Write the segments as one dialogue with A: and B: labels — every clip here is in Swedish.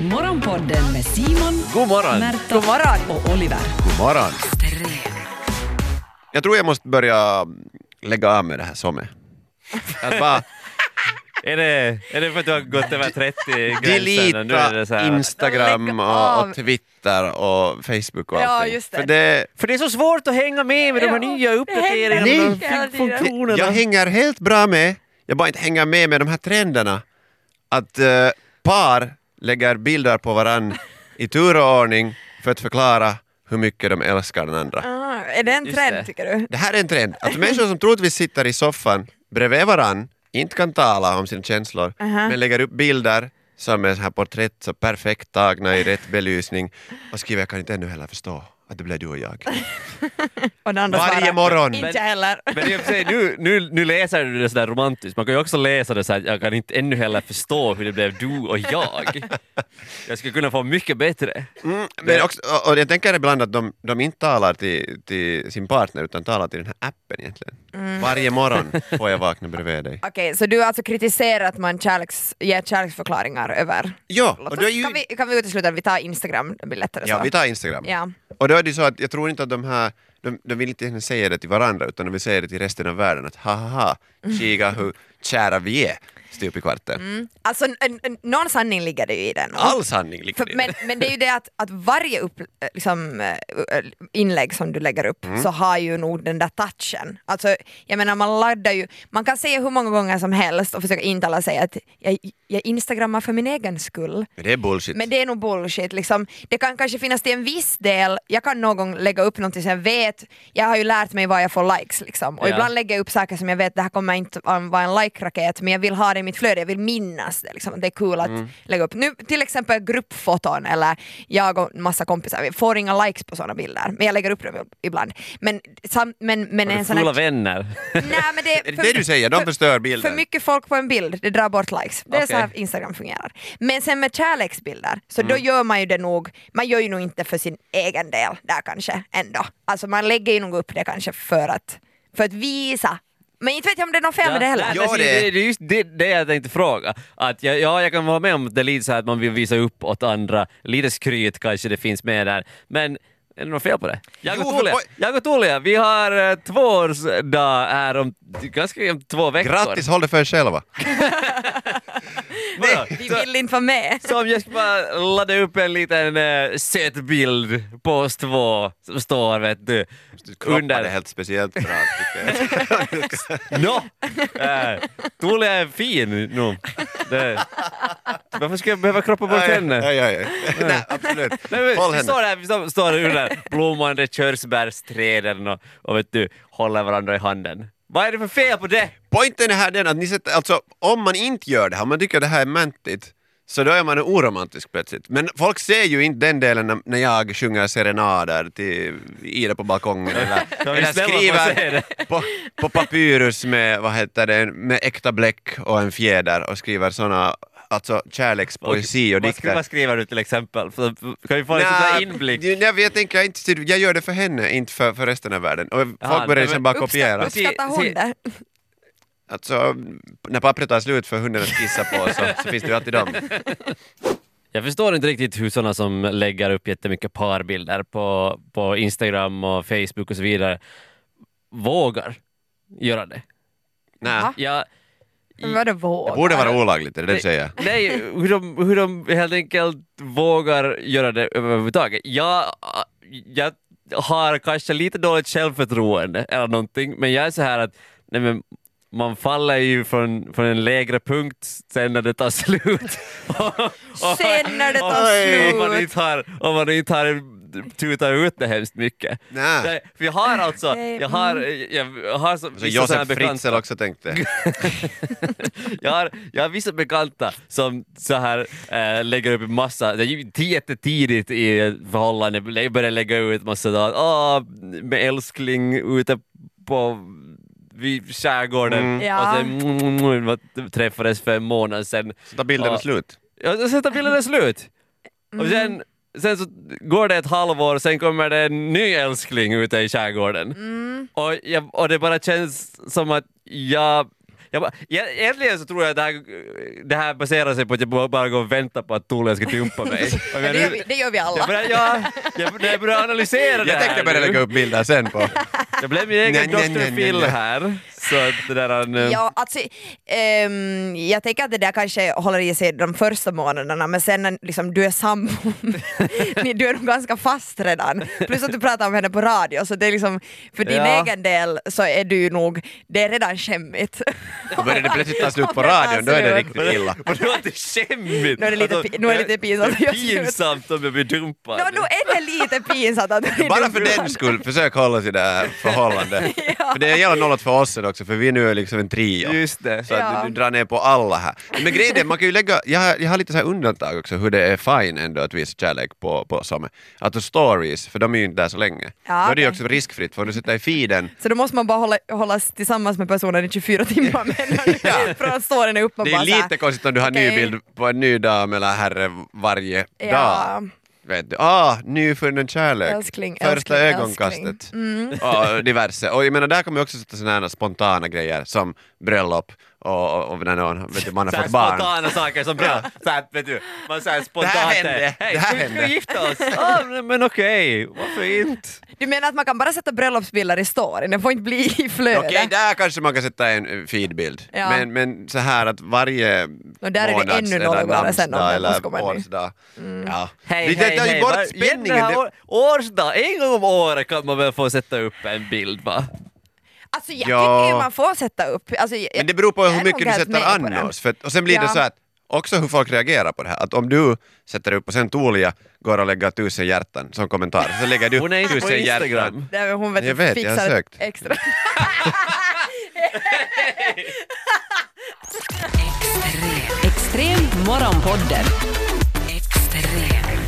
A: Morgonpodden med Simon,
B: God morgon.
A: Märta
C: God morgon.
A: och Oliver.
B: God morgon. Jag tror jag måste börja lägga av med det här sommet. Att bara
D: Är det, är det för att du har gått över 30-gränsen och nu är det så
B: delita
D: här?
B: Instagram
C: Lägg
B: och,
C: av.
B: och Twitter och Facebook och
C: Ja,
B: allting.
C: just det.
B: För det,
D: För det är så svårt att hänga med med de här
C: Ja,
D: nya uppdateringarna
B: det
D: och de
B: händer
C: mycket hela
D: här
C: tiden.
D: funktionerna.
B: jag hänger helt bra med, jag bara inte hänger med med de här trenderna. Att eh, par lägger bilder på varann i tur och ordning för att förklara hur mycket de älskar den andra.
C: Ah, är det en
D: Just
C: trend
D: det.
C: tycker du?
B: Det här är en trend, att människor som troligtvis sitter i soffan bredvid varann inte kan tala om sina känslor,
C: Aha.
B: men lägger upp bilder som är så här porträtt så perfekt tagna i rätt belysning och skriver jag kan inte ännu heller förstå att det blev du och jag.
C: Och den andra
B: Varje
C: svarar,
B: morgon.
C: Inte heller.
D: Men i och för sig, nu, nu, nu läser du det sådär romantiskt, man kan ju också läsa det såhär, jag kan inte ännu heller förstå hur det blev du och jag. Jag skulle kunna få mycket bättre.
B: Mm, men också, och- och jag tänker ibland att de, de inte talar till, till sin partner utan talar till den här appen egentligen.
C: Mm.
B: Varje morgon får jag vakna bredvid dig.
C: Okej, så du har alltså kritiserar att man kärleks, ger kärleksförklaringar över?
B: Ja,
C: Låt
B: och
C: oss,
B: då är ju,
C: kan, vi, kan vi utesluta att vi tar Instagram, det blir lättare
B: ja,
C: så.
B: vi tar Instagram.
C: ja.
B: Och då är det ju så att jag tror inte att de här, de, de vill inte ens säga det till varandra utan de vill säga det till resten av världen att ha ha ha, kika hur kära vi är, stup i kvarten.
C: Alltså n- n- någon sanning ligger det ju i den.
B: All sanning ligger
C: För,
B: i
C: men,
B: det.
C: men det är ju det att, att varje upp, eh, liksom, eh, eh, inlägg som du lägger upp
B: Mm.
C: så har ju nog den där touchen. Alltså, jag menar man laddar ju, man kan säga hur många gånger som helst och försöka intala sig att jag, jag instagrammar för min egen skull.
B: Men det är bullshit.
C: Men det är nog bullshit. Liksom. Det kan kanske finnas till en viss del, jag kan någon gång lägga upp någonting som jag vet, jag har ju lärt mig vad jag får likes liksom. Och
D: Ja.
C: ibland lägger jag upp saker som jag vet, det här kommer inte att vara en like-raket men jag vill ha det i mitt flöde, jag vill minnas det. Liksom. Det är kul att
D: Mm.
C: lägga upp. Nu, till exempel gruppfoton eller jag och en massa kompisar, vi får inga likes på sådana bilder men jag lägger upp dem ibland. Men, sam, men, men
D: Har
C: en
D: du
C: sån här...
D: fula vänner?
C: Nej, men det,
B: Är det
C: för-
B: det du säger? De
C: för-
B: förstör bilden.
C: För mycket folk på en bild, det drar bort likes. Det är så
D: Okej.
C: här Instagram fungerar. Men sen med kärleksbilder, så då gör man ju det nog, man gör ju nog inte för sin egen del där kanske ändå. Alltså man lägger ju nog upp det kanske för att, för att visa. Men inte vet jag om det är något fel med det heller.
B: Ja,
D: Ja,
B: det-
D: det, det, det är just det, det jag tänkte fråga. Att jag, ja, jag kan vara med om att det är lite så här att man vill visa upp åt andra. Lite skryt kanske det finns med där. Men är det något fel på det? Jag
B: Jo,
D: och
B: för
D: Tulia,
B: poj-
D: jag och Tulia, vi har eh, tvåårsdag här om ganska om två veckor.
B: Grattis, håll det för er själva.
D: Vadå?
C: Vi
D: Så-
C: vill inte vara med.
D: Så om jag ska bara ladda upp en liten eh, söt bild på oss två som står vet du
B: Du kroppar det
D: under...
B: helt speciellt bra. tycker jag.
D: Nå! Eh, Tulia är fin nu. Det. Varför ska jag behöva kroppa bort henne?
B: Ja, ja, ja. Nej, absolut.
D: Nej, men,
B: Håll
D: vi
B: henne.
D: står där, vi står- står där under blommande körsbärsträden och, och vet du, håller varandra i handen. Vad är det för fel på det?
B: Poängen är här den att ni sätter, alltså om man inte gör det här, om man tycker att det här är mantigt, så då är man oromantisk plötsligt. Men folk ser ju inte den delen när, när jag sjunger serenader till Ida på balkongen eller,
D: Kan vi
B: eller
D: snälla få se
B: skriver
D: det?
B: på, på papyrus med, vad heter det, med äkta bläck och en fjäder och skriver såna alltså kärlekspoesi och
D: Vad skri-
B: dikter.
D: Vad skriver du till exempel? För- Kan vi få en
B: Nja,
D: liten sån här inblick?
B: ju, nej, jag tänker inte, jag gör det för henne, inte för, för resten av världen. Och folk börjar
D: nej,
B: sen
D: men
B: bara
C: Uppskatt,
B: kopiera.
C: uppskattar hon
D: Se- se-
C: det?
B: Alltså, när pappret tar slut för hunden att kissa på så, så finns det ju alltid dem.
D: Jag förstår inte riktigt hur sådana som lägger upp jättemycket parbilder på, på Instagram och Facebook och så vidare vågar göra det.
B: Nej.
C: Va?
D: Jag,
C: Men vadå
B: Det
C: vågar?
B: borde vara olagligt, är det det du säger?
D: Nej, hur de, hur de helt enkelt vågar göra det överhuvudtaget. Jag, jag har kanske lite dåligt självförtroende eller någonting, men jag är så här att nej men, man faller ju från, från en lägre punkt sen när det tar slut.
C: Sen när det tar
D: Om- Om man
C: slut.
D: inte har, om man inte har tutat ut det hemskt mycket.
B: Nej.
D: Nej, för jag har alltså,
C: Okej,
D: jag har, jag har så,
B: Så
D: vissa såna här
B: Alltså, Josef
D: bekanta-
B: Fritzl också tänkte.
D: jag, har, jag har vissa bekanta som så här eh, lägger upp en massa, det är ju jättetidigt i förhållande, lä- börjar lägga ut massa dagar, ah, med älskling ute på vid skärgården
C: Ja.
D: och sen mm, mm, mm, vad- träffades för en månad sedan.
B: Så tar bilden
D: Ja.
B: slut.
D: Ja, sen tar bilden slut!
C: Mm.
D: Och sen, sen så går det ett halvår, sen kommer det en ny
C: Mm.
D: älskling ute i skärgården. Och, jag, och det bara känns som att jag... Jag bara, jag, egentligen så tror jag att det här, det här baserar sig på att jag bara bara går och väntar på att Tuulen ska dumpa mig. Och
C: Det
D: jag
C: gör
D: nu-
C: vi, det gör vi alla.
D: jag börjar, ja, jag, när jag börjar analysera det
B: Jag
D: här
B: tänkte börja
D: nu.
B: lägga upp bilder sen på...
D: Jag blev min egen
B: Nej, nej, nej,
D: Dr.
B: nej,
D: Phil
B: nej.
D: här. Så att det där... Han, eh,
C: Ja, alltså, ehm, jag tänker att det där kanske håller i sig de första månaderna men sen när liksom, du är sambo, ni- du är nog ganska fast redan. Plus att du pratar om henne på radio så det är liksom, för din
D: Ja.
C: egen del så är du ju nog, det är redan skämmigt.
B: Och börjar det plötsligt tas upp på
C: Om det
B: radion, då är det
C: tas
B: riktigt illa.
D: Och det var inte skämmigt! Alltså,
C: Nu är det lite pi- nu är det lite pinsamt.
D: Det är pinsamt om jag blir dumpad.
C: Nå, nu är det lite pinsamt att du är
B: Bara
C: dum
B: för
C: ibland.
B: den skull, försök hålla sig i det här förhållandet. För det gäller nollat för oss också, för vi nu är liksom en trio.
D: Just det.
B: Så att
C: Ja.
B: du, du drar ner på alla här. Men grejen är, man kan ju lägga, jag, har- jag har lite så här undantag också hur det är fine ändå att visa kärlek på, på samer. Att och stories, för de är ju inte där så länge.
C: Ja,
B: Då är det ju
C: okej.
B: också riskfritt, för om du sitter i feeden,
C: Så då måste man bara hålla, hållas tillsammans med personen i 24 timmar men
B: Ja.
C: från att storyn är uppe och
B: det
C: bara
B: är
C: så här,
B: lite konstigt om du har
C: okej.
B: ny bild på en ny dam eller herre varje
C: Ja.
B: dag. Vet du, ah, nyfunnen kärlek,
C: Älskling,
B: första
C: älskling, Mm.
B: ögonkastet och diverse. Och jag menar, där kommer ju också sitta sådana här spontana grejer som bröllop och, och, och när någon, vet du, man har
D: Såhär
B: fått barn.
D: spontana saker som bra. Såhär, vet du, man såhär spontant...
B: Det här hände.
D: Hej,
B: Det här
D: ska vi- ska
B: hände."
D: vi gifta oss? ah, men- men okej, varför inte?
C: Du menar att man kan bara sätta bröllopsbilder i storyn, det får inte bli i flödet?
B: Okej, där kanske man kan sätta en eh, feedbild.
C: Ja.
B: Men, men så här att varje
C: Och där är det
B: månads
C: ännu
B: eller
C: några gånger sen om
B: namnsdag
C: den
B: eller
C: ska Mm. komma nu.
B: årsdag. Ja.
D: Hej,
B: det, det
D: hej,
B: tar ju
D: hej.
B: bort
D: Var-
B: spänningen.
D: Jenny har
B: Det,
D: år- Årsdag, en gång om året kan man väl få sätta upp en bild va?
C: Alltså jag
B: Ja.
C: tycker ju man får sätta upp. Alltså, jag,
B: men det beror på
C: jag är
B: hur mycket
C: nog
B: du
C: helt
B: sätter
C: med på den.
B: annars. För, att- och sen blir det
C: Ja.
B: så att också hur folk reagerar på det här. Att om du sätter upp och sen Tuulia går och lägger tusen hjärtan som kommentar. Så lägger du
D: Hon är inte på
B: tusen
D: Instagram.
B: hjärtan.
C: Det är, hon vet,
B: Jag vet, jag har
C: fixar
B: sökt.
C: ett extra.
A: Extrem. Extrem morgonpodden. Extrem.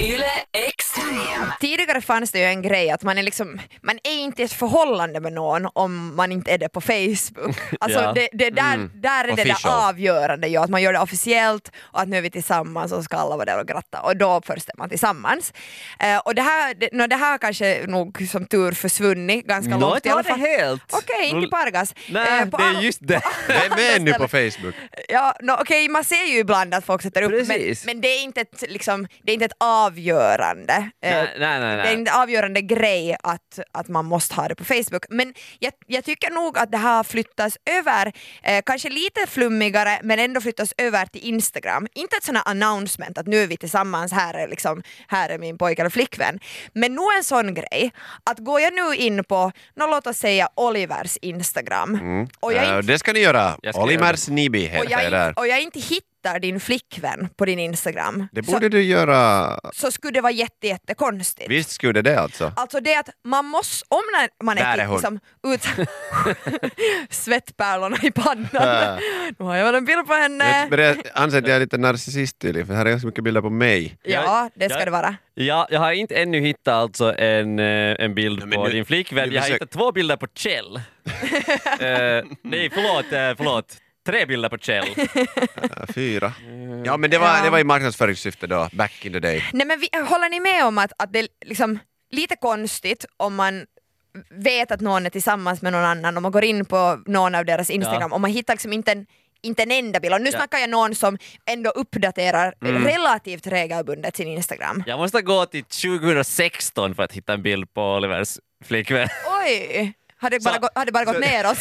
A: Yle Extrem.
C: Tidigare fanns det ju en grej att man är, liksom, man är inte i ett förhållande med någon om man inte är det på Facebook. Alltså
D: Ja.
C: det, det där, där är det där
B: Mm. Official.
C: avgörande ju, att man gör det officiellt och att nu är vi tillsammans och ska alla vara där och gratta och då först är man tillsammans. Eh, och det här, det, nå, det här kanske nog som tur försvunnit ganska
D: Nå,
C: långt
D: inte
C: i alla
D: har det
C: fall.
D: helt.
C: Okej, inte
D: Roll-
C: Pargas.
D: Nej,
C: Eh, på
D: det är
C: all-
D: just det.
B: Vem är nu på
C: Ställe.
B: Facebook?
C: Ja, no, okej, man ser ju ibland att folk sätter upp, men,
D: Precis.
C: men det, är inte ett, liksom, det är inte ett avgörande. eh,
D: Nej, nej, nej,
C: Det är
D: nej.
C: inte en avgörande grej att, att man måste ha det på Facebook. Men jag, jag tycker nog att det här flyttas över, eh, kanske lite flummigare, men ändå flyttas över till Instagram. Inte ett sånt här announcement att nu är vi tillsammans, här är, liksom, här är min pojke eller flickvän. Men nog en sån grej, att går jag nu in på, nå, låt oss säga Olivers Instagram,
D: Mm.
C: och jag
B: Eh,
C: inte
B: Det ska ni göra.
D: Jag ska göra
B: Olimers Nibi
C: och
B: heter
C: jag,
B: jag där.
C: inte, och jag inte hittar din flickvän på din Instagram
B: Det
C: så,
B: borde du göra.
C: så skulle det vara jätte, jättekonstigt.
B: Visst skulle det alltså.
C: Alltså det att man måste, om när man
B: Där är
C: är
B: hon.
C: liksom ut... svettpärlorna i pannan.
B: Äh.
C: nu har jag väl en bild på henne.
B: Jag börjar anse att jag är lite narcissist tydligen, för här är ganska mycket bilder på mig.
C: Ja, det ska
D: Jag-
C: det vara.
D: Ja, jag har inte ännu hittat alltså en, eh, en bild
B: men
D: på
B: nu-
D: din flickvän.
B: nu
D: Jag har
B: försök-
D: hittat två bilder på Kjell. Eh, nej, förlåt, eh, förlåt. Tre bilder på Kjell.
B: Ja, Fyra. Ja, men det var,
C: Ja.
B: det var i marknadsföringssyfte då, back in the day.
C: Nej men vi, håller ni med om att, att det är liksom lite konstigt om man vet att någon är tillsammans med någon annan och man går in på någon av deras Instagram och man hittar liksom inte en inte en enda bild. Och nu
D: Ja. Mm.
C: snackar jag någon som ändå uppdaterar relativt regelbundet sin Instagram.
D: Jag måste gå till 2016 för att hitta en bild på Olivers flickvän.
C: Oj! Har det bara,
D: Så-
C: gå, har det bara gått neråt?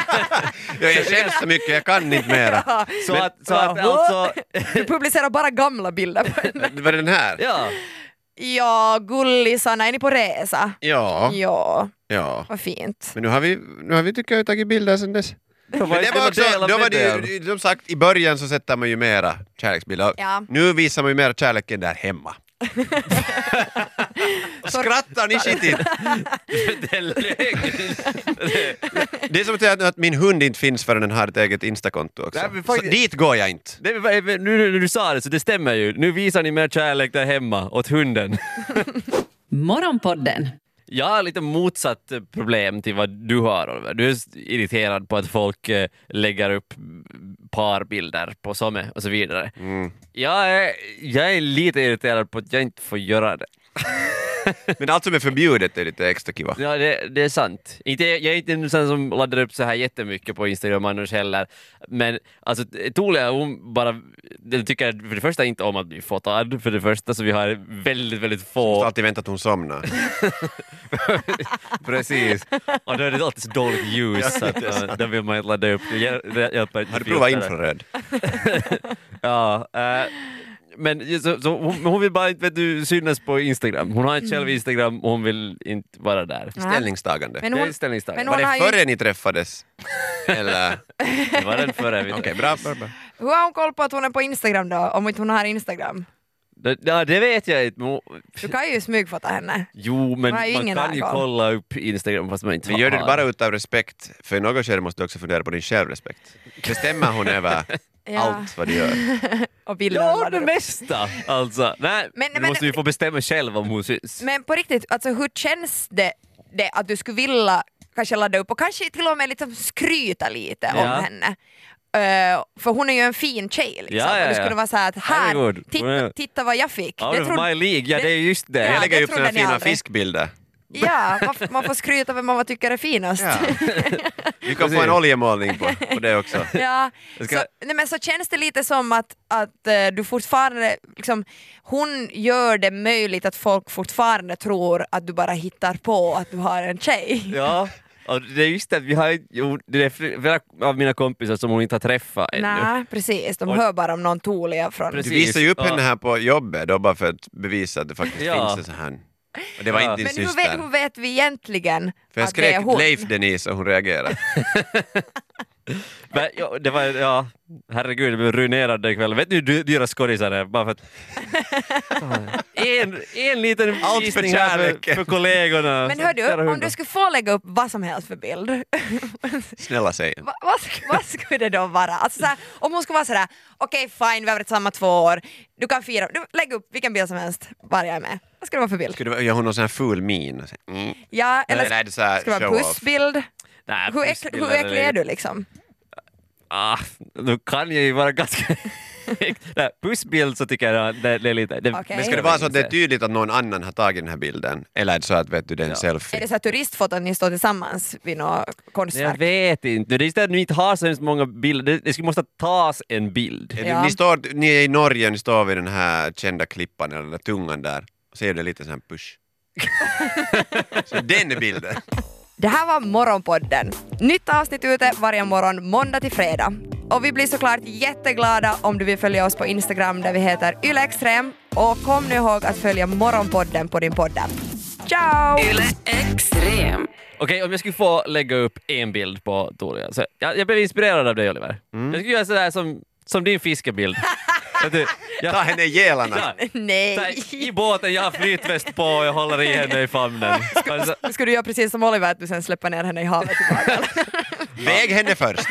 B: Jag jag skäms så mycket, jag kan inte mera.
C: Ja.
D: Så
B: Men-
D: att, så att alltså...
C: Du publicerar bara gamla bilder på henne.
B: Det var den här?
D: Ja,
C: Ja, gullisarna, är ni på resa?
B: Ja.
C: Ja,
B: ja.
C: vad fint.
B: Men nu har vi, nu har vi tycker jag, tagit bilder sen dess.
D: det
B: Men det var också,
D: del av
B: då var det
D: bilden.
B: ju, som sagt, i början så sätter man ju mera kärleksbilder.
C: Ja.
B: Nu visar man ju mera kärleken där hemma. Skrattar ni skitigt?
D: Det är lögn.
B: Det är som att säga att min hund inte finns förrän den har ett eget instakonto också.
D: Nej, men
B: Så
D: faktiskt-
B: dit går jag inte.
D: Nej, men vad- men Nu när du sa det så det stämmer ju. Nu visar ni mer kärlek där hemma åt hunden.
A: Morgonpodden.
D: Jag har lite motsatt eh, problem till vad du har Oliver. Du är s- irriterad på att folk eh, lägger upp mm, parbilder på somme och så
B: Mm.
D: vidare. Jag, är, jag är lite irriterad på att jag inte får göra det.
B: Men allt som är förbjudet är lite extra kiva.
D: Ja, det, det är sant. Inte, jag är inte en sån som laddar upp så här jättemycket på Instagram annars heller. Men alltså, Tulia hon bara den tycker för det första inte om att bli fotad, för det första så vi har väldigt, väldigt
B: Jag har
D: få.
B: alltid väntat att hon somnar.
D: Precis. Och då är det alltid så dåligt ljus, så att, eh, då vill man inte ladda upp. Det hjäl- det hjälper inte
B: Har du
D: filter.
B: provat infraröd?
D: Ja. eh, men ju- så, så hon, hon vill bara inte vet du, synas på Instagram. Hon har inte själv Instagram och hon vill inte vara där.
B: Ställningstagande.
C: Mm. Men
D: Det är
C: hon,
D: ställningstagande.
C: men
B: Var
C: hon har
B: det
C: ju-
B: före ni träffades? Eller?
D: Det var den förra. vet du.
B: Okej, bra, bra, bra.
C: hur har hon koll på att hon är på Instagram då, om inte hon har Instagram?
D: Det- Ja, det vet jag inte. men hon-
C: Du kan ju smygfota henne.
D: Jo, men
C: har ju
D: man
C: ingen
D: kan ju
C: ögon.
D: kolla upp Instagram fast man inte
B: Men gör du det
D: har.
B: bara utav respekt? För i något skede måste du också fundera på din självrespekt. Bestämmer hon över
C: Ja.
B: allt vad du gör?
C: Och bilden
D: Ja,
C: laddar
D: det
C: upp.
D: mesta! Alltså, nej,
C: Men-
D: men, du
C: men-
D: måste ju få bestämma själv om hon syns.
C: Men på riktigt, alltså, hur känns det, det att du skulle vilja kanske ladda upp och kanske till och med liksom skryta lite
D: Ja.
C: om henne? Eh, för hon är ju en fin tjej liksom.
D: Ja, ja,
C: Och det
D: ja.
C: skulle vara så här att här,
D: Herregud. Hon
C: titta,
D: är-
C: titta vad jag fick.
D: Out
C: Det
D: of
C: trodde-
D: my League, ja det är just det.
C: Ja,
B: jag lägger
C: det
B: upp
C: trodde
B: såna
C: ni
B: fina
C: aldrig.
B: fiskbilder.
C: Ja, man, f- man får skryta vem man tycker är finast.
B: Ja. Vi kan få
D: Precis.
B: en oljemålning på, på det också.
C: Ja,
D: Jag ska-
C: så, nej men så känns det lite som att, att eh, du fortfarande, liksom, hon gör det möjligt att folk fortfarande tror att du bara hittar på att du har en tjej.
D: Ja, och det är just det att vi har jo, det är flera av mina kompisar som hon inte har träffat ännu.
C: Nej, precis, de
D: Och-
C: hör bara om någon Tulia från...
D: Precis.
B: Du visar ju upp
D: Ja.
B: henne här på jobbet då bara för att bevisa att det faktiskt
D: Ja.
B: finns en sån här. Och det var
D: Ja.
B: inte
C: Men
B: din
C: hur vet, hur
B: syster.
C: vet vi egentligen
B: För jag
C: att det är
B: skrek
C: hon?
B: Leif Denise och hon reagerade.
D: Men, ja, det var, ja, herregud, jag blev ruinerad den kvällen. Vet ni hur dy- dyra skådisar är? Bara för att... en, en liten
B: Allt för
D: visning här för,
B: kärleken.
D: för kollegorna.
C: Men
D: Så
C: hör du,
D: flera
C: om
D: hundra.
C: du skulle få lägga upp vad som helst för bild,
B: Snälla säg en.
C: Va- vad, sk- vad skulle det då vara? Alltså såhär, om hon skulle vara sådär, okej fine, vi har varit samma två år, du kan fira, du, lägg upp vilken bild som helst, bara jag är med. Vad skulle det vara för bild?
B: Skulle det vara- Gör hon någon sån här ful min? Mm.
C: Ja, eller
B: Eller är det så här
C: ska det vara en
B: show-off?
C: pussbild?
D: Nej,
C: Hur, äck,
D: pussbilder
C: hur äcklig är
D: det-
C: du liksom?
D: Ah, nu kan jag ju vara ganska... Nej, Pussbild så tycker jag det, det är lite... Det,
C: Okej.
B: Men ska det vara så att det är tydligt att någon annan har tagit den här bilden? Eller är det så att vet du, det är en
D: Ja.
C: Är det
B: selfie?
C: så här turistfoton ni står tillsammans vid något
D: Nej, Jag
C: konstverk?
D: vet inte. Det är just det att ni inte har så hemskt många bilder. Det, det skulle måste tas en bild.
B: Är
C: Ja.
B: du, ni, står, ni är i Norge och ni står vid den här kända klippan, eller den där tungan där, och ser det lite sån här push. så den är bilden.
C: Det här var Morgonpodden. Nytt avsnitt ute varje morgon måndag till fredag. Och vi blir såklart jätteglada om du vill följa oss på Instagram där vi heter ylextrem. Och kom nu ihåg att följa Morgonpodden på din podd. Ciao!
A: Yle Extrem.
D: Okej, om jag skulle få lägga upp en bild på Tolia. Så jag, jag blev inspirerad av dig Oliver. Jag skulle göra sådär som, som din fiskebild. Att du- jag,
B: Ta henne i gälarna!
D: sådär, sådär,
C: Nej!
D: I båten, jag har flytväst på och jag håller i henne i famnen. Alltså,
C: Ska du göra precis som Oliver, att du sen släpper ner henne i havet tillbaka?
B: Väg henne först!